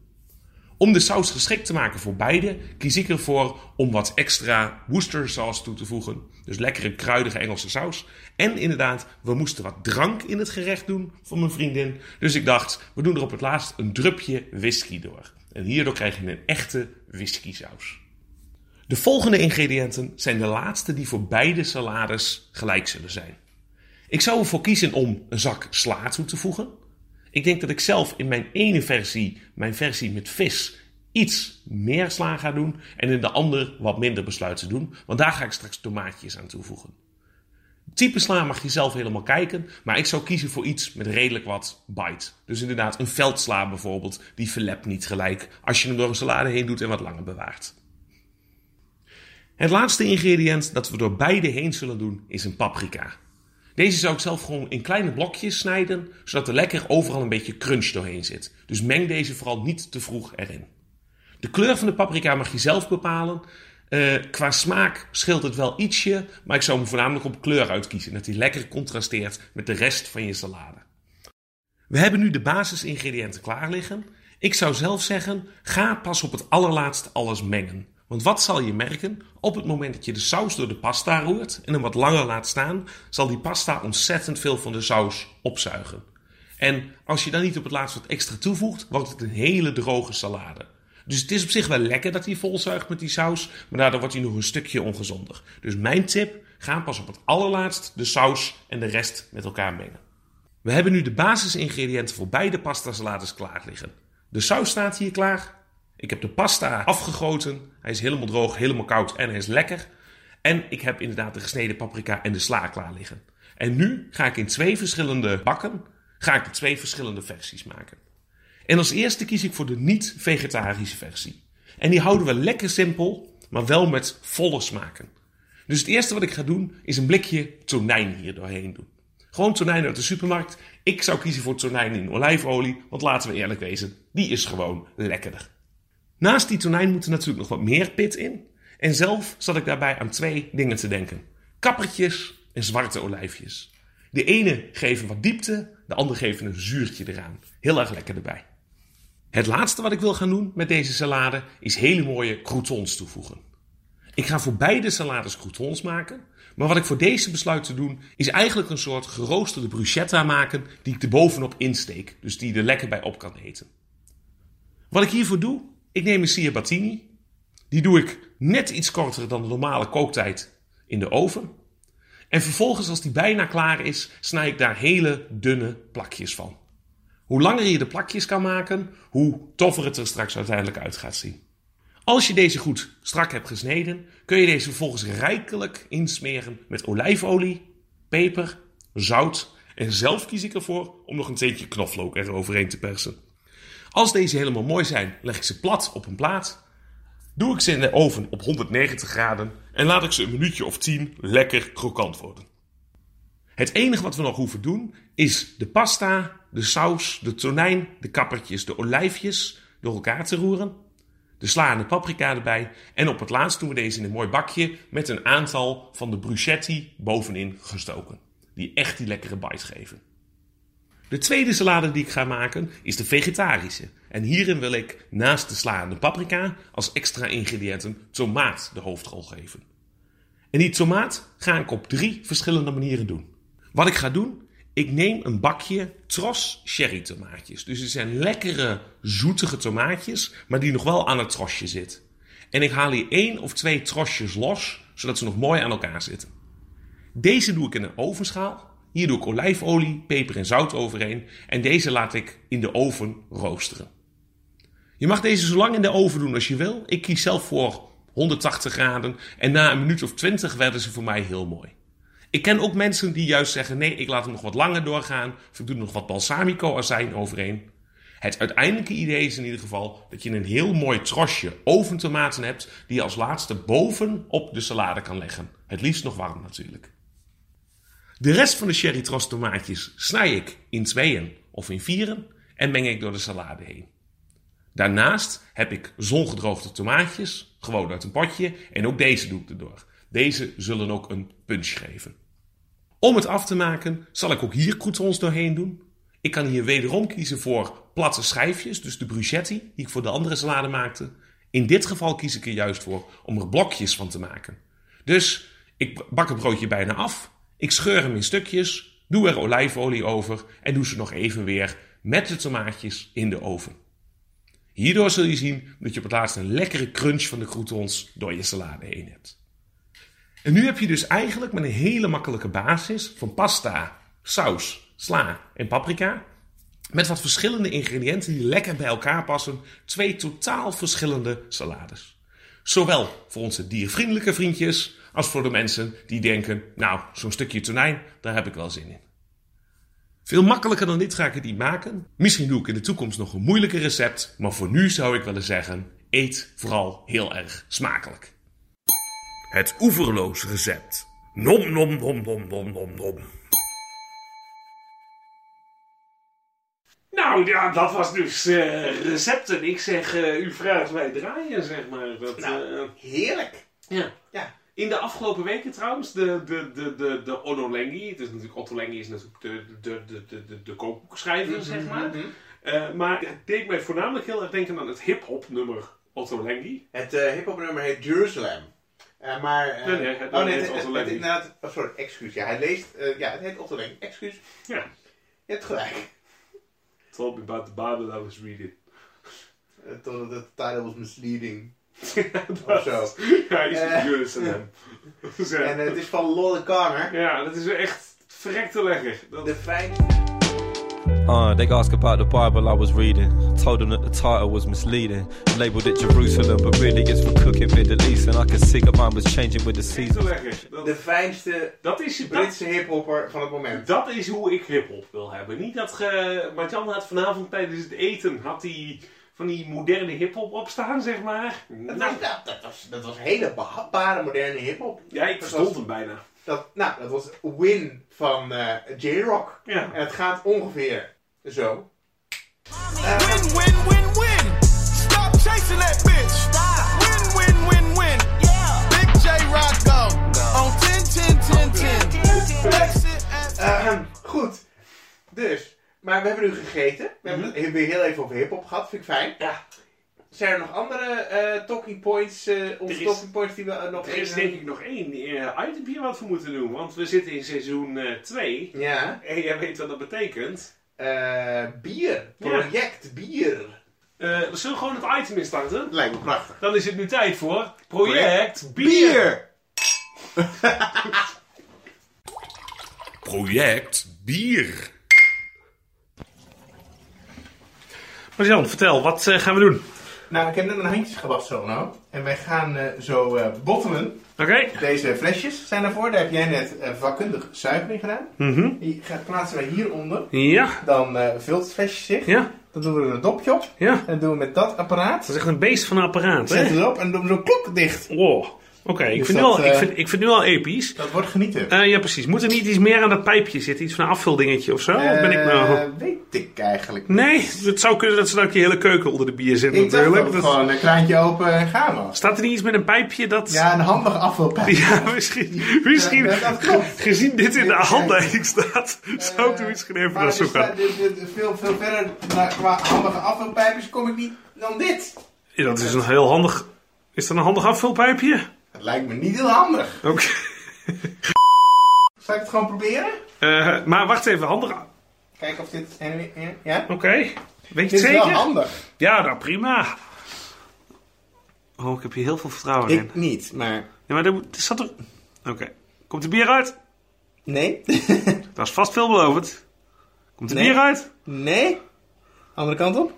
Om de saus geschikt te maken voor beide, kies ik ervoor om wat extra Worcestershire toe te voegen. Dus lekkere kruidige Engelse saus. En inderdaad, we moesten wat drank in het gerecht doen voor mijn vriendin. Dus ik dacht, we doen er op het laatst een drupje whisky door. En hierdoor krijg je een echte whiskysaus. De volgende ingrediënten zijn de laatste die voor beide salades gelijk zullen zijn. Ik zou ervoor kiezen om een zak sla toe te voegen. Ik denk dat ik zelf in mijn ene versie, mijn versie met vis, iets meer sla ga doen. En in de andere wat minder besluit te doen. Want daar ga ik straks tomaatjes aan toevoegen. Type sla mag je zelf helemaal kijken. Maar ik zou kiezen voor iets met redelijk wat bite. Dus inderdaad, een veldsla bijvoorbeeld. Die verlept niet gelijk als je hem door een salade heen doet en wat langer bewaart. Het laatste ingrediënt dat we door beide heen zullen doen is een paprika. Deze zou ik zelf gewoon in kleine blokjes snijden, zodat er lekker overal een beetje crunch doorheen zit. Dus meng deze vooral niet te vroeg erin. De kleur van de paprika mag je zelf bepalen. Eh, qua smaak scheelt het wel ietsje, maar ik zou hem voornamelijk op kleur uitkiezen, dat hij lekker contrasteert met de rest van je salade. We hebben nu de basisingrediënten klaar liggen. Ik zou zelf zeggen, ga pas op het allerlaatst alles mengen. Want wat zal je merken? Op het moment dat je de saus door de pasta roert en hem wat langer laat staan, zal die pasta ontzettend veel van de saus opzuigen. En als je dan niet op het laatst wat extra toevoegt, wordt het een hele droge salade. Dus het is op zich wel lekker dat hij volzuigt met die saus, maar daardoor wordt hij nog een stukje ongezonder. Dus mijn tip, ga pas op het allerlaatst de saus en de rest met elkaar mengen. We hebben nu de basisingrediënten voor beide pastasalades klaar liggen. De saus staat hier klaar. Ik heb de pasta afgegoten. Hij is helemaal droog, helemaal koud en hij is lekker. En ik heb inderdaad de gesneden paprika en de sla klaar liggen. En nu ga ik in twee verschillende bakken ga ik de twee verschillende versies maken. En als eerste kies ik voor de niet-vegetarische versie. En die houden we lekker simpel, maar wel met volle smaken. Dus het eerste wat ik ga doen is een blikje tonijn hier doorheen doen. Gewoon tonijn uit de supermarkt. Ik zou kiezen voor tonijn in olijfolie, want laten we eerlijk wezen, die is gewoon lekkerder. Naast die tonijn moet er natuurlijk nog wat meer pit in. En zelf zat ik daarbij aan twee dingen te denken: kappertjes en zwarte olijfjes. De ene geven wat diepte, de andere geven een zuurtje eraan. Heel erg lekker erbij. Het laatste wat ik wil gaan doen met deze salade is hele mooie croutons toevoegen. Ik ga voor beide salades croutons maken. Maar wat ik voor deze besluit te doen, is eigenlijk een soort geroosterde bruschetta maken die ik er bovenop insteek. Dus die er lekker bij op kan eten. Wat ik hiervoor doe, ik neem een ciabattini. Die doe ik net iets korter dan de normale kooktijd in de oven. En vervolgens, als die bijna klaar is, snij ik daar hele dunne plakjes van. Hoe langer je de plakjes kan maken, hoe toffer het er straks uiteindelijk uit gaat zien. Als je deze goed strak hebt gesneden, kun je deze vervolgens rijkelijk insmeren met olijfolie, peper, zout en zelf kies ik ervoor om nog een teentje knoflook eroverheen te persen. Als deze helemaal mooi zijn, leg ik ze plat op een plaat. Doe ik ze in de oven op 190 graden en laat ik ze een minuutje of 10 lekker krokant worden. Het enige wat we nog hoeven doen is de pasta, de saus, de tonijn, de kappertjes, de olijfjes door elkaar te roeren. De sla en de paprika erbij. En op het laatst doen we deze in een mooi bakje met een aantal van de bruschetti bovenin gestoken. Die echt die lekkere bite geven. De tweede salade die ik ga maken is de vegetarische. En hierin wil ik naast de sla en de paprika als extra ingrediënten tomaat de hoofdrol geven. En die tomaat ga ik op drie verschillende manieren doen. Wat ik ga doen, ik neem een bakje tros sherry tomaatjes. Dus het zijn lekkere, zoetige tomaatjes, maar die nog wel aan het trosje zit. En ik haal hier één of twee trosjes los, zodat ze nog mooi aan elkaar zitten. Deze doe ik in een ovenschaal. Hier doe ik olijfolie, peper en zout overheen. En deze laat ik in de oven roosteren. Je mag deze zo lang in de oven doen als je wil. Ik kies zelf voor 180 graden. En na een minuut of 20 werden ze voor mij heel mooi. Ik ken ook mensen die juist zeggen: nee, ik laat hem nog wat langer doorgaan. Of ik doe er nog wat balsamico-azijn overheen. Het uiteindelijke idee is in ieder geval dat je een heel mooi trosje oventomaten hebt. die je als laatste boven op de salade kan leggen. Het liefst nog warm natuurlijk. De rest van de sherry tros tomaatjes snij ik in tweeën of in vieren en meng ik door de salade heen. Daarnaast heb ik zongedroogde tomaatjes, gewoon uit een potje, en ook deze doe ik erdoor. Deze zullen ook een punch geven. Om het af te maken zal ik ook hier croutons doorheen doen. Ik kan hier wederom kiezen voor platte schijfjes, dus de bruschetti die ik voor de andere salade maakte. In dit geval kies ik er juist voor om er blokjes van te maken. Dus ik bak een broodje bijna af, ik scheur hem in stukjes, doe er olijfolie over en doe ze nog even weer met de tomaatjes in de oven. Hierdoor zul je zien dat je op het laatst een lekkere crunch van de croutons door je salade heen hebt. En nu heb je dus eigenlijk met een hele makkelijke basis van pasta, saus, sla en paprika. Met wat verschillende ingrediënten die lekker bij elkaar passen, twee totaal verschillende salades. Zowel voor onze diervriendelijke vriendjes als voor de mensen die denken: Nou, zo'n stukje tonijn, daar heb ik wel zin in. Veel makkelijker dan dit ga ik het niet maken. Misschien doe ik in de toekomst nog een moeilijker recept, maar voor nu zou ik willen zeggen: eet vooral heel erg smakelijk. Het oeverloos recept. Nom nom nom nom nom nom nom.
Nou ja, dat was dus eh, recepten. Ik zeg, eh, u vraagt, wij draaien, zeg maar. Dat,
Nou.
eh,
Heerlijk.
ja.
Ja.
In de afgelopen weken trouwens, de, de, de, de, de Onolengi, het is natuurlijk, Otto Lengi is natuurlijk de, de, de, de, de, de kookboekschrijver, zeg maar. Eh, maar het deed mij voornamelijk heel erg denken aan het hip-hop nummer Otto Lengi.
Het eh hip-hop nummer heet Jerusalem. Eh, maar, eh,
Nee, nee, het
oh, nee,
heet
het, het,
Otto
het-
Lengi.
inderdaad, oh, sorry, excuus. Ja, hij leest, eh, ja, het heet Otto Lengi. Excuus,
Ja.
je hebt gelijk.
Told me about the Bible I was reading.
Eh, Totdat de title was misleading.
Dat-
zo.
<laughs> Ja, is
Eh.
het
<laughs>
Jerusalem. Dus, eh,
En eh, het is van Lolle Carner.
ja, dat is echt verrekte lekker. Dat,
De fijn...
Uh, they asked about the Bible I was reading. Told them that the title was misleading. Labeled it Jerusalem, but really it's for cooking Middle East. And I could see that mine was changing with the
verrekte
seasons.
lekker. Dat,
De fijnste
dat is je dat-
Britse hiphopper van het moment.
Dat is hoe ik hiphop wil hebben. Niet dat ge... Maar Jan had vanavond tijdens het eten had hij van die moderne hiphop opstaan, zeg maar.
Dat
Nou,
was, dat, dat was, dat was hele behapbare moderne hiphop.
ja, ik
Dat
verstond
was-
hem bijna.
Dat, nou, dat was Win van eh, J-Rock.
Ja.
En het gaat ongeveer zo.
Win, win, win, win. Stop chasing that bitch. Stop. Win, win, win, win. Yeah. Big J Rocco. On 10, 10, 10, 10. Exit at
Ehm, goed. Dus, maar we hebben nu gegeten. We hebben het weer heel even over hiphop gehad. Vind ik fijn.
Mhm. Ja.
Zijn er nog andere eh, talking points, eh onze
Er is-
talking points die we eh, nog
Er is denk ik nog één eh, itempje wat we moeten doen. Want we zitten in seizoen 2.
Ja.
en jij weet wat dat betekent.
Eh, bier.
Ja.
Project bier.
Eh, we zullen gewoon het item instarten.
Lijkt me prachtig.
Dan is het nu tijd voor Project Bier.
Project Bier. Marjan, vertel, wat eh, gaan we doen?
Nou, ik heb net mijn handjes gewassen, zo nou. En wij gaan eh, zo eh bottelen.
Oké.
Deze flesjes zijn daarvoor. Daar heb jij net eh, vakkundig zuivering gedaan. Die ga- plaatsen wij hieronder.
Mhm. Ja,
Dan eh, vult het flesje zich.
ja,
Dan doen we er een dopje op.
ja.
En doen we met dat apparaat.
Dat is echt een beest van een apparaat, hè?
Zetten we erop en doen we zo klok dicht.
Wow. Oké, ik,
Dus
vind nu
dat,
al- ik,
eh,
vind, ik vind nu al episch.
Dat wordt genieten.
Eh, ja, precies. Moet er niet iets meer aan dat pijpje zitten? Iets van een afvuldingetje of zo? Of ben ik nou...
Eh, Weet ik eigenlijk niet.
Nee, het zou kunnen dat ze dan ook je hele keuken onder de bier zit
Ik dacht
natuurlijk.
ook
Dat-
gewoon een kraantje open en gaan we.
Staat er niet iets met een pijpje dat...
Ja, een handig afvalpijp.
<laughs> Ja, misschien. misschien
Ja, dat klopt.
ge- Gezien dit in de
Ja.
handleiding staat, zou ik er misschien even
Maar
naartoe
dus,
gaan.
de- de- de- veel, veel verder naar, qua handige afvalpijpjes kom ik niet dan dit.
Ja, dat is een heel handig... Is dat een handig afvulpijpje?
Het lijkt me niet heel handig.
Oké.
Zal ik het gewoon proberen?
Eh, maar wacht even, handig... Oké.
Kijken of dit... en- en- Ja?
Weet je
Dit
het
is wel
zeker?
handig.
Ja, nou prima. Oh, ik heb hier heel veel vertrouwen in.
Ik niet, maar...
Ja, maar er moet- er zat er... Oké. Komt de bier uit?
Nee. <laughs>
Dat is vast veelbelovend. Komt de
Nee.
bier uit?
nee. Andere kant op.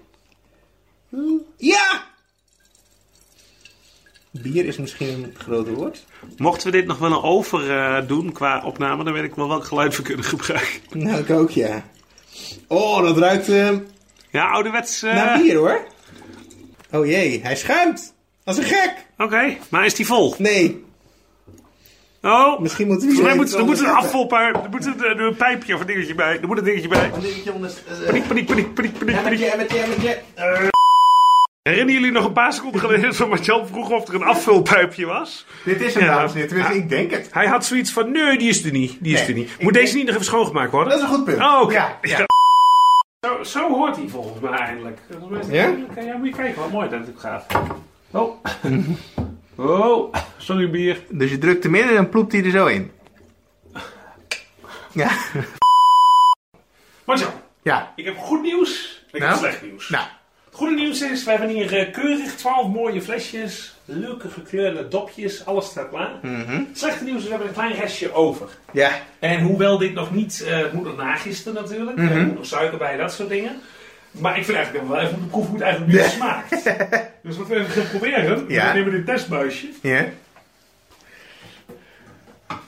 Ja! Bier is misschien een groot woord.
Mochten we dit nog wel een over eh, doen qua opname, dan weet ik wel welk geluid we kunnen gebruiken.
Nou, ik ook, ja. Oh, dat ruikt eh,
Ja, ouderwets... eh,
naar bier, hoor. Oh jee, hij schuimt. Dat is een gek.
Oké, maar is die vol?
Nee.
Oh,
Misschien moeten we
volgens mij
hier
moet,
even
er moet een
onderzetten.
afvalpijp, er moet een, een pijpje of een dingetje bij. Er moet een dingetje bij.
Dingetje onder- eh,
Paniek, paniek, paniek, paniek, paniek, paniek.
emmertje, emmertje. Eh,
Herinneren jullie nog een paar seconden geleden van Marcel vroeg of er een afvulpijpje was?
Dit is hem,
Ja.
dames en heren. Tenminste, ik denk het.
Hij had zoiets van, nee, die is er niet. Die is
Nee,
er niet.
ik
Moet deze
denk-
niet nog even schoongemaakt worden?
Dat is een goed punt.
Oh, oké.
ja, ja.
Zo, zo hoort hij volgens mij eindelijk. Volgens mij is het
Ja?
eindelijk-
eh,
ja, moet je kijken wat mooi dat het ook gaat. Oh.
<laughs>
Oh, sorry bier.
Dus je drukt hem in en dan ploept hij er zo in. Ja.
Marcel,
Ja.
ik heb goed nieuws. Ik
Nou?
heb slecht nieuws.
Nou,
Het goede nieuws is, we hebben hier eh, keurig 12 mooie flesjes, leuke gekleurde dopjes, alles staat klaar.
Mhm.
Het slechte nieuws is, we hebben een klein restje over.
ja.
En hoewel dit nog niet, eh, het moet nog nagisten natuurlijk,
Mhm.
er moet nog suiker bij, dat soort dingen. Maar ik vind eigenlijk dat we wel even moeten proeven hoe het eigenlijk nu smaakt.
<laughs>
Dus wat we even gaan proberen,
Ja.
we nemen dit testbuisje,
Ja.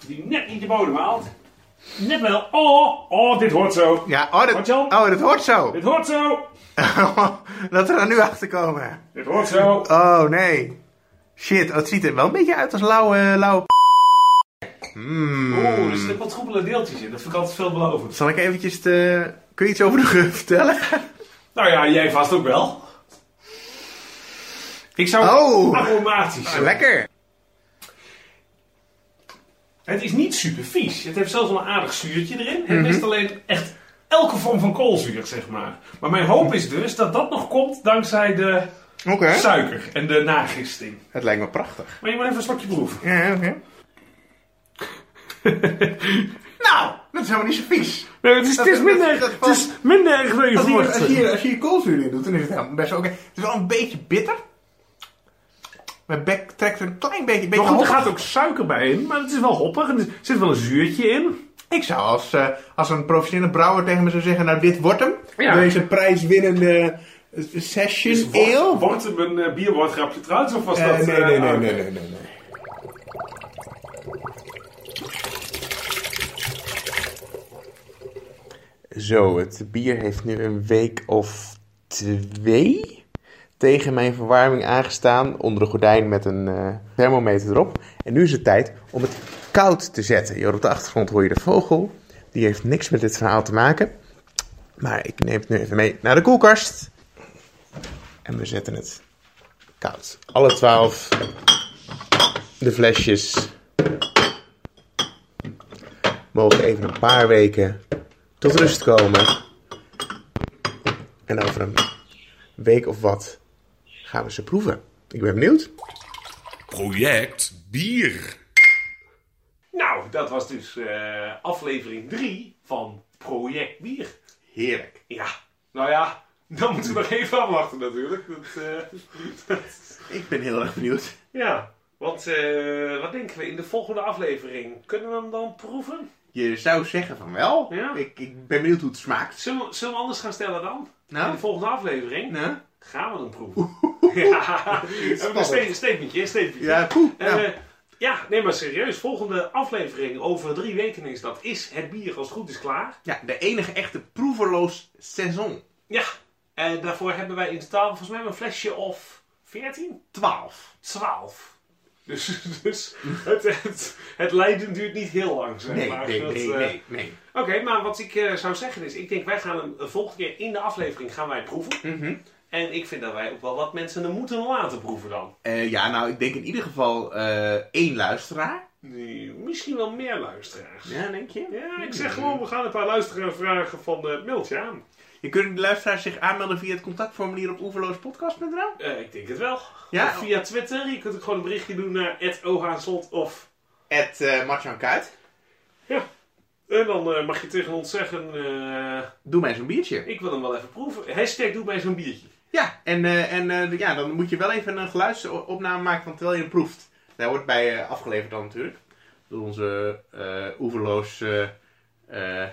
die net niet de bodem haalt. Net wel, oh, oh, dit hoort zo.
Ja, oh, dat,
Marcel?
oh, dat hoort zo. <laughs>
Dit hoort zo,
Laten we er nu achter komen.
dit hoort zo.
Oh, nee. Shit, oh, het ziet er wel een beetje uit als lauwe... lauwe... p-
Oeh,
Hmm.
er zitten wat troebele deeltjes in, dat vind ik altijd veelbelovend.
Zal ik eventjes de... Kun je iets over de geur vertellen? <laughs>
Nou ja, jij vast ook wel. Ik zou
Oh,
aromatisch.
lekker.
Het is niet super vies. Het heeft zelfs wel een aardig zuurtje erin.
Mhm.
Het mist alleen echt elke vorm van koolzuur, zeg maar. Maar mijn
Mhm.
hoop is dus dat dat nog komt dankzij de
Oké.
suiker en de nagisting.
Het lijkt me prachtig.
Maar je moet even een slokje
<laughs>
proeven.
Ja, oké. nou, dat is helemaal niet zo vies.
Nee, het is, het is
dat-
minder,
dat-
het is minder erg dan je
Als je, als,
verwacht.
je, als je hier koolzuur in doet, dan is het helemaal best wel oké. Het is wel een beetje bitter. Mijn bek trekt een klein beetje. beetje
Maar goed, er
hoppig.
gaat ook suiker bij in, maar het is wel hoppig en er zit wel een zuurtje in.
Ik zou als, eh, als een professionele brouwer tegen me zou zeggen: Nou, dit wordt hem.
Ja.
Deze prijswinnende eh, session ale.
Wordt het een eh, bierwoordgrapje trouwens? Of was
Eh,
dat...
nee,
eh,
nee, nee,
oh,
nee, nee, nee, nee. Zo, het bier heeft nu een week of twee tegen mijn verwarming aangestaan. Onder een gordijn met een eh, thermometer erop. En nu is het tijd om het koud te zetten. Hier op de achtergrond hoor je de vogel. Die heeft niks met dit verhaal te maken. Maar ik neem het nu even mee naar de koelkast. En we zetten het koud. Alle twaalf de flesjes mogen even een paar weken tot rust komen. En over een week of wat gaan we ze proeven. Ik ben benieuwd.
Project Bier.
Nou, dat was dus eh, aflevering 3 van Project Bier.
Heerlijk.
Ja, nou ja, dan moeten we nog even afwachten natuurlijk. Dat, eh, <laughs>
Ik ben heel erg benieuwd.
ja, want eh, wat denken we in de volgende aflevering? Kunnen we hem dan proeven?
Je zou zeggen van wel.
Ja.
Ik, ik ben benieuwd hoe het smaakt.
Zullen we, zullen we anders gaan stellen dan? In de
Nou,
volgende aflevering
nou.
gaan we hem proeven.
<laughs>
ja, <laughs> een ste- statementje, een statementje.
Ja, poeh.
Eh,
nou.
ja, nee maar serieus. Volgende aflevering over drie weken is dat. Is het bier als het goed is klaar?
Ja, de enige echte proeverloos seizoen.
Ja. En daarvoor hebben wij in totaal volgens mij een flesje of 14?
12.
12. Dus, <laughs> dus het, het, het lijden duurt niet heel lang, zeg
Nee,
maar.
nee,
Dat,
nee,
eh,
nee, nee.
Oké, maar wat ik eh, zou zeggen is, ik denk wij gaan hem de volgende keer in de aflevering gaan wij proeven.
Mhm.
En ik vind dat wij ook wel wat mensen er moeten laten proeven dan.
Eh, ja, nou, ik denk in ieder geval eh, één luisteraar.
Nee, misschien wel meer luisteraars. Ja,
denk je?
ik zeg gewoon, we gaan een paar luisteraars vragen van eh meld je aan.
Je kunt de luisteraars zich aanmelden via het contactformulier op oeverloospodcast.nl.
Eh, ik denk het wel.
Ja.
Of via Twitter, je kunt ook gewoon een berichtje doen naar @ohazot of...
Het uh, Martjan Kuit.
En dan eh, mag je tegen ons zeggen, eh,
Doe mij zo'n biertje.
ik wil hem wel even proeven. Hashtag doe mij zo'n biertje.
Ja, en, eh, en eh, ja, dan moet je wel even een geluidsopname maken van terwijl je hem proeft. Daar wordt bij eh, afgeleverd dan natuurlijk. Door onze eh oeverloos, eh eh,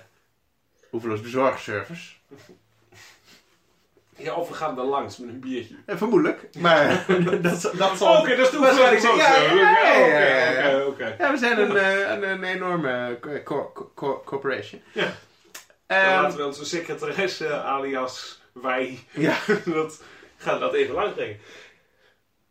oeverloos bezorgservice.
Ja, of we gaan er langs met een biertje.
Eh, vermoedelijk, <laughs> maar dat, dat zal...
Oké, dat is de oefening.
Ja, ja, ja, ja, ja, ja, ja.
Oké, oké, oké.
Ja, we zijn een, eh, een, een enorme co- co- co- corporation.
Ja. Dan
Ehm,
Laten we onze secretaresse, eh, alias wij,
ja.
<laughs> dat, gaan dat even langs brengen.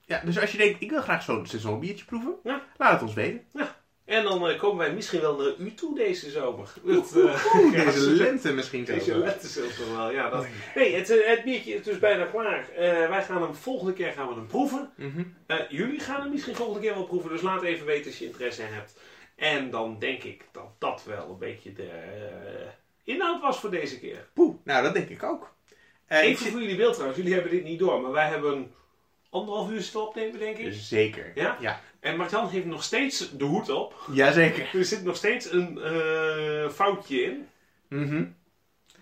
Ja, dus als je denkt, ik wil graag zo'n seizoen biertje proeven,
Ja.
laat het ons weten.
Ja. En dan eh, komen wij misschien wel naar u toe deze zomer. Het, eh, <laughs> ja,
Deze
ze-
lente misschien zelfs
Deze
wel.
lente zelfs nog wel, ja. Dat... Nee, het, eh, het biertje is dus bijna klaar. Eh, wij gaan hem volgende keer gaan we hem proeven.
Mhm.
Eh, jullie gaan hem misschien volgende keer wel proeven, dus laat even weten als je interesse hebt. En dan denk ik dat dat wel een beetje de eh, inhoud was voor deze keer.
Poeh, nou dat denk ik ook. Eh, ik
Even
zit-
voor jullie beeld trouwens, jullie hebben dit niet door, maar wij hebben anderhalf uur zitten opnemen, denk ik.
Zeker.
Ja?
Ja.
En Martjan heeft nog steeds de hoed op.
Jazeker.
Er zit nog steeds een eh, foutje in.
Mhm.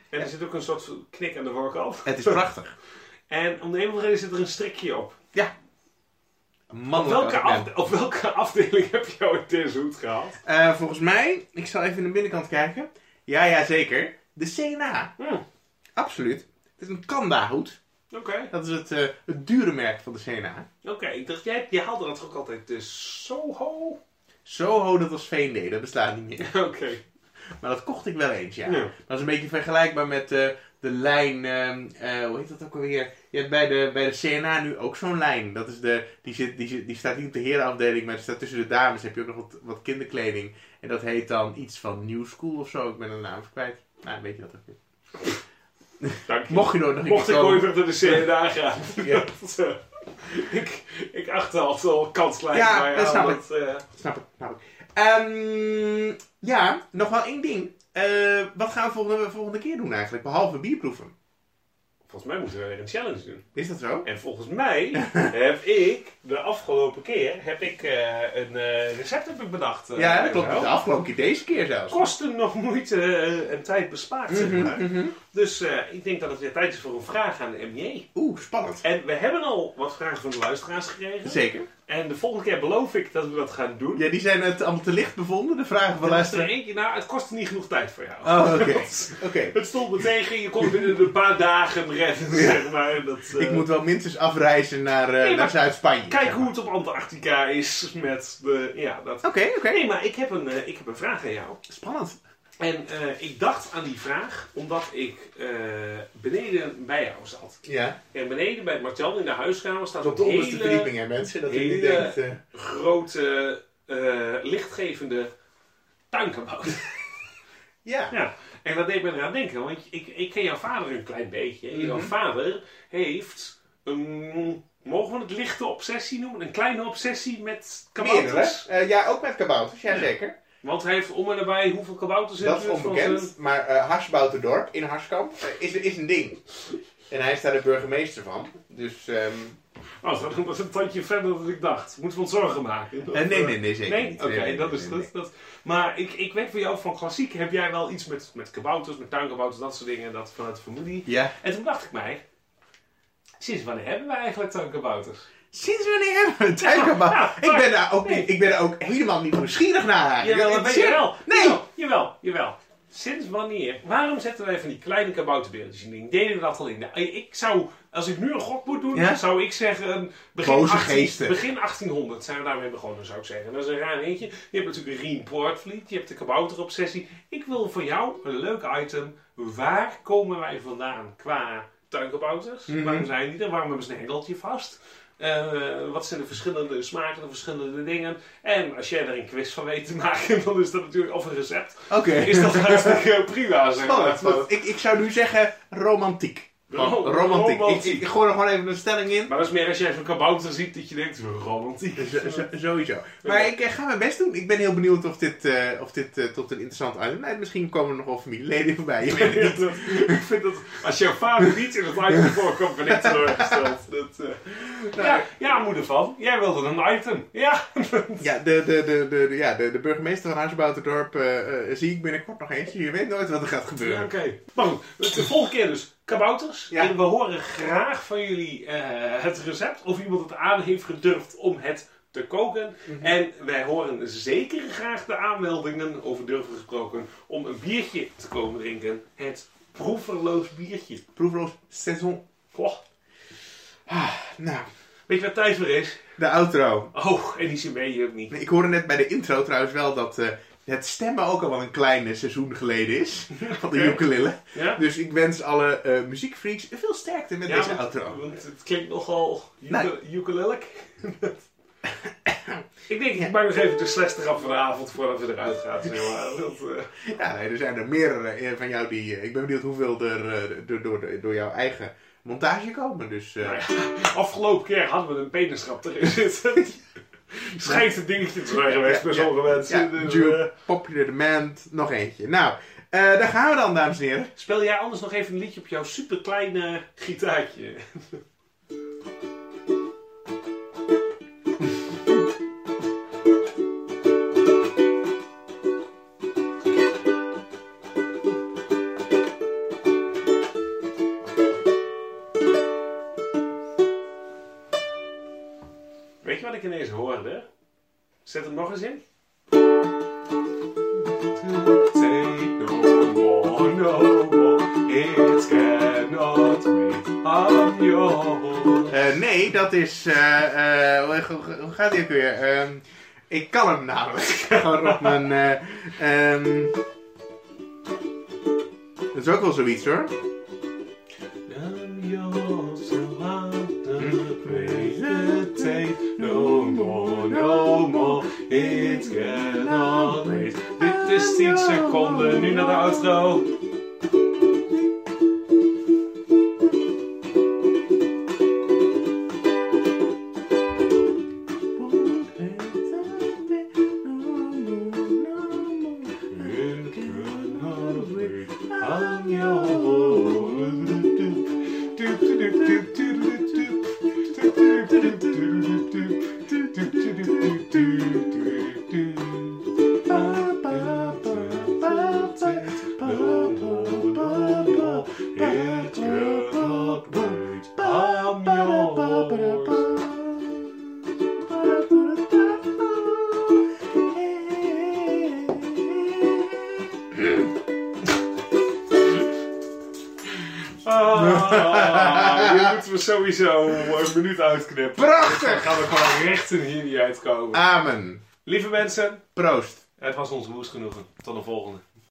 En er zit ook een soort knik aan de voorkant.
Het is prachtig.
En om de een of andere reden zit er een strikje op. Op
Mannelijk
welke,
als ik ben.
afde- op welke <laughs> afdeling heb je jou in deze hoed gehaald?
Eh, volgens mij, ik zal even naar de binnenkant kijken. Ja, ja, zeker. De CNA.
Hm, Oké.
Absoluut. Het is een Kanda-hoed. Dat is het, eh, het dure merk van de CNA.
Oké, ik dacht, jij, jij haalde dat ook altijd de Soho? <laughs> Oké.
Soho, dat was V&D, dat bestaat niet meer. Maar dat kocht ik wel eens, ja.
Ja.
Dat is een beetje vergelijkbaar met eh, de lijn, ehm, eh, hoe heet dat ook alweer? Je hebt bij de, bij de CNA nu ook zo'n lijn. Dat is de, die, zit, die, zit, die staat niet op de herenafdeling, maar die staat tussen de dames. heb je ook nog wat, wat kinderkleding. En dat heet dan iets van New School of zo. Ik ben de naam kwijt. Nou, weet je dat ook niet.
Dank je.
Mocht je er nog
Mocht
een
ik
keer komen.
ooit weer naar <laughs> de CNA gaan.
Ja.
Dat, eh, ik, ik achtte altijd al kanslijn.
Ja,
maar
dat snap
dat, eh,
Snap ik, snap ik. Ehm, ja, nog wel één ding. Eh, wat gaan we volgende, volgende keer doen eigenlijk? Behalve bierproeven.
volgens mij moeten we weer een challenge doen.
Is dat zo?
En volgens mij <laughs> heb ik de afgelopen keer heb ik, eh, een eh, recept heb ik bedacht. eh,
ja,
bij
dat klopt.
jou.
De afgelopen keer, deze keer zelfs.
kosten nog moeite eh, en tijd bespaard, zeg maar.
mhm.
Dus eh, ik denk dat het weer tijd is voor een vraag aan de MJ.
Oeh, spannend.
En we hebben al wat vragen van de luisteraars gekregen.
Zeker.
En de volgende keer beloof ik dat we dat gaan doen.
Ja, die zijn het allemaal te licht bevonden, de vragen
Er
van
was er
luisteren.
eentje, nou, het kostte niet genoeg tijd voor jou.
Oh, oké.
Dat-
Oké.
Het stond me tegen, je kon binnen een paar dagen redden, zeg maar. Dat, eh,
Ik moet wel minstens afreizen naar, eh,
maar-
naar Zuid-Spanje.
Kijk
zeg maar.
hoe het op Antarctica is met de... Ja, dat...
Oké, oké.
Nee, maar ik heb, een, eh, ik heb een vraag aan jou.
Spannend.
En eh, ik dacht aan die vraag omdat ik eh, beneden bij jou zat.
Ja.
En beneden bij Martel in de huiskamer staat
Op
een
de onderste
hele
verdieping, hè, mensen. Dat u
hele-
niet denkt... eh,
grote, eh, lichtgevende
<laughs>
tuinkabouter.
ja.
ja. En dat deed me eraan denken, want ik, ik ken jouw vader een klein beetje. En Jouw
Mhm.
vader heeft een, mogen we het lichte obsessie noemen? Een kleine obsessie met kabouters.
Meerdere. Eh, ja, ook met kabouters. Ja, zeker.
Want hij heeft om en nabij hoeveel kabouters in
Dat
de
is
buurt van zijn-
onbekend, maar eh Harsbouterdorp in Harskamp eh, is, is een ding. En hij is daar de burgemeester van. Dus, ehm
Oh, dat was een tandje verder dan ik dacht. Moeten we ons zorgen maken? Of, eh,
nee, zeker
Nee, oké, dat is dat, dat. Maar ik, ik weet van jou van klassiek heb jij wel iets met, met kabouters, met tuinkabouters, dat soort dingen, dat vanuit de familie.
Ja.
En toen dacht ik mij, sinds wanneer hebben we eigenlijk tuinkabouters?
Sinds wanneer hebben we een tuinkabout?
Ja,
ik, ben
maar-
daar ook
Nou, nee.
niet, ik ben daar ook helemaal niet nieuwsgierig naar eigenlijk.
Jawel,
Ik-
dat weet
serieus?
je wel.
Nee!
Jawel, jawel, jawel. Sinds wanneer? Waarom zetten wij van die kleine kabouterbeeltjes in? die Deden we dat al in? Nou, Ik zou, als ik nu een gok moet doen,
Ja?
zou ik zeggen... Begin,
Boze
18
geesten.
begin 1800 zijn we daarmee begonnen, zou ik zeggen. Dat is een raar eentje. Je hebt natuurlijk een Portvliet, je hebt de kabouterobsessie. Ik wil voor jou een leuk item. Waar komen wij vandaan qua tuinkabouters?
Mhm.
Waarom zijn die er? Waarom hebben ze een hengeltje vast? Eh, wat zijn de verschillende smaken, de verschillende dingen? En als jij er een quiz van weet te maken, <laughs> dan is dat natuurlijk, of een recept,
Oké.
is dat
<laughs>
hartstikke prima. Zeg maar.
Spannend, want ik, ik zou nu zeggen romantiek. Gewoon
Ro-
romantiek.
romantiek.
Ik, ik gooi er gewoon even een stelling in.
Maar dat is meer als jij zo'n kabouter ziet dat je denkt, "Oh, romantiek.
<laughs> Zo- zo- Sowieso. Maar ik eh, ga mijn best doen. Ik ben heel benieuwd of dit, eh, of dit eh, tot een interessant item leidt. Misschien komen er nog wel familieleden voorbij. Je weet het niet.
ik vind dat als jouw vader niet in het item voorkomt, ben ik
<laughs>
teleurgesteld. Dat, eh, ja, ja, moeder van, jij wilde een item. Ja,
Ja, de, de, de, de, de- ja, de, de burgemeester van Huisbouterdorp eh, eh, zie ik binnenkort nog eens. Je weet nooit wat er gaat
Ja,
gebeuren.
oké. Maar goed, dus de volgende keer dus kabouters.
Ja.
En we horen graag van jullie eh, het recept. Of iemand het aan heeft gedurfd om het te koken. En wij horen zeker graag de aanmeldingen, over durven gesproken, om een biertje te komen drinken. Het proeverloos biertje.
Proefloos seizoen.
Goh,
Nou,
weet je wat tijd voor is?
de outro.
Oh, en die zin weet je ook niet.
Ik hoorde net bij de intro trouwens wel dat eh, het stemmen ook al wel een kleine seizoen
<laughs>
geleden is. Van de
Oké.
ukulele.
Ja?
Dus ik wens alle eh muziekfreaks veel sterkte met
Ja,
deze
want-
outro. <laughs>
Want het klinkt nogal
Nee.
ukulelic. Ik denk, ik maak nog even de slechtste grap van de avond voordat we eruit gaan. zeg
<laughs>
maar. Dat, eh,
Ja, nee, er zijn er meerdere eh, van jou die... eh, ik ben benieuwd hoeveel er eh, door, door, door jouw eigen montage komen. Dus eh,
nou ja, afgelopen keer hadden we een penisgrap erin
<laughs>
zitten. Schijnt een dingetje te zijn geweest,
Ja,
bij
ja,
sommige mensen.
ja,
Dus, eh,
Duke, Popular Demand, nog eentje. Nou, eh, daar gaan we dan, dames en heren.
Speel jij anders nog even een liedje op jouw superkleine gitaartje? Weet je wat ik ineens hoorde? Zet hem nog eens in. Take no more, no more. It cannot wait. I'm yours.
Eh, nee, dat is... eh, eh, hoe- hoe, hoe gaat die ook weer? Ehm, ik kan hem namelijk. <laughs> Gewoon op mijn... eh, ehm, dat is ook wel zoiets hoor.
I'm yours, so I'm the crazy. Take no more, no more. It cannot wait. Dit is 10 seconden, nu naar de outro. It cannot wait. I'm Ah, Ah, hier moeten we sowieso een minuut uitknippen. Dan
Prachtig!
gaan we gewoon recht in hier niet uitkomen.
Amen.
Lieve mensen,
Proost.
het was ons woest genoegen. Tot de volgende.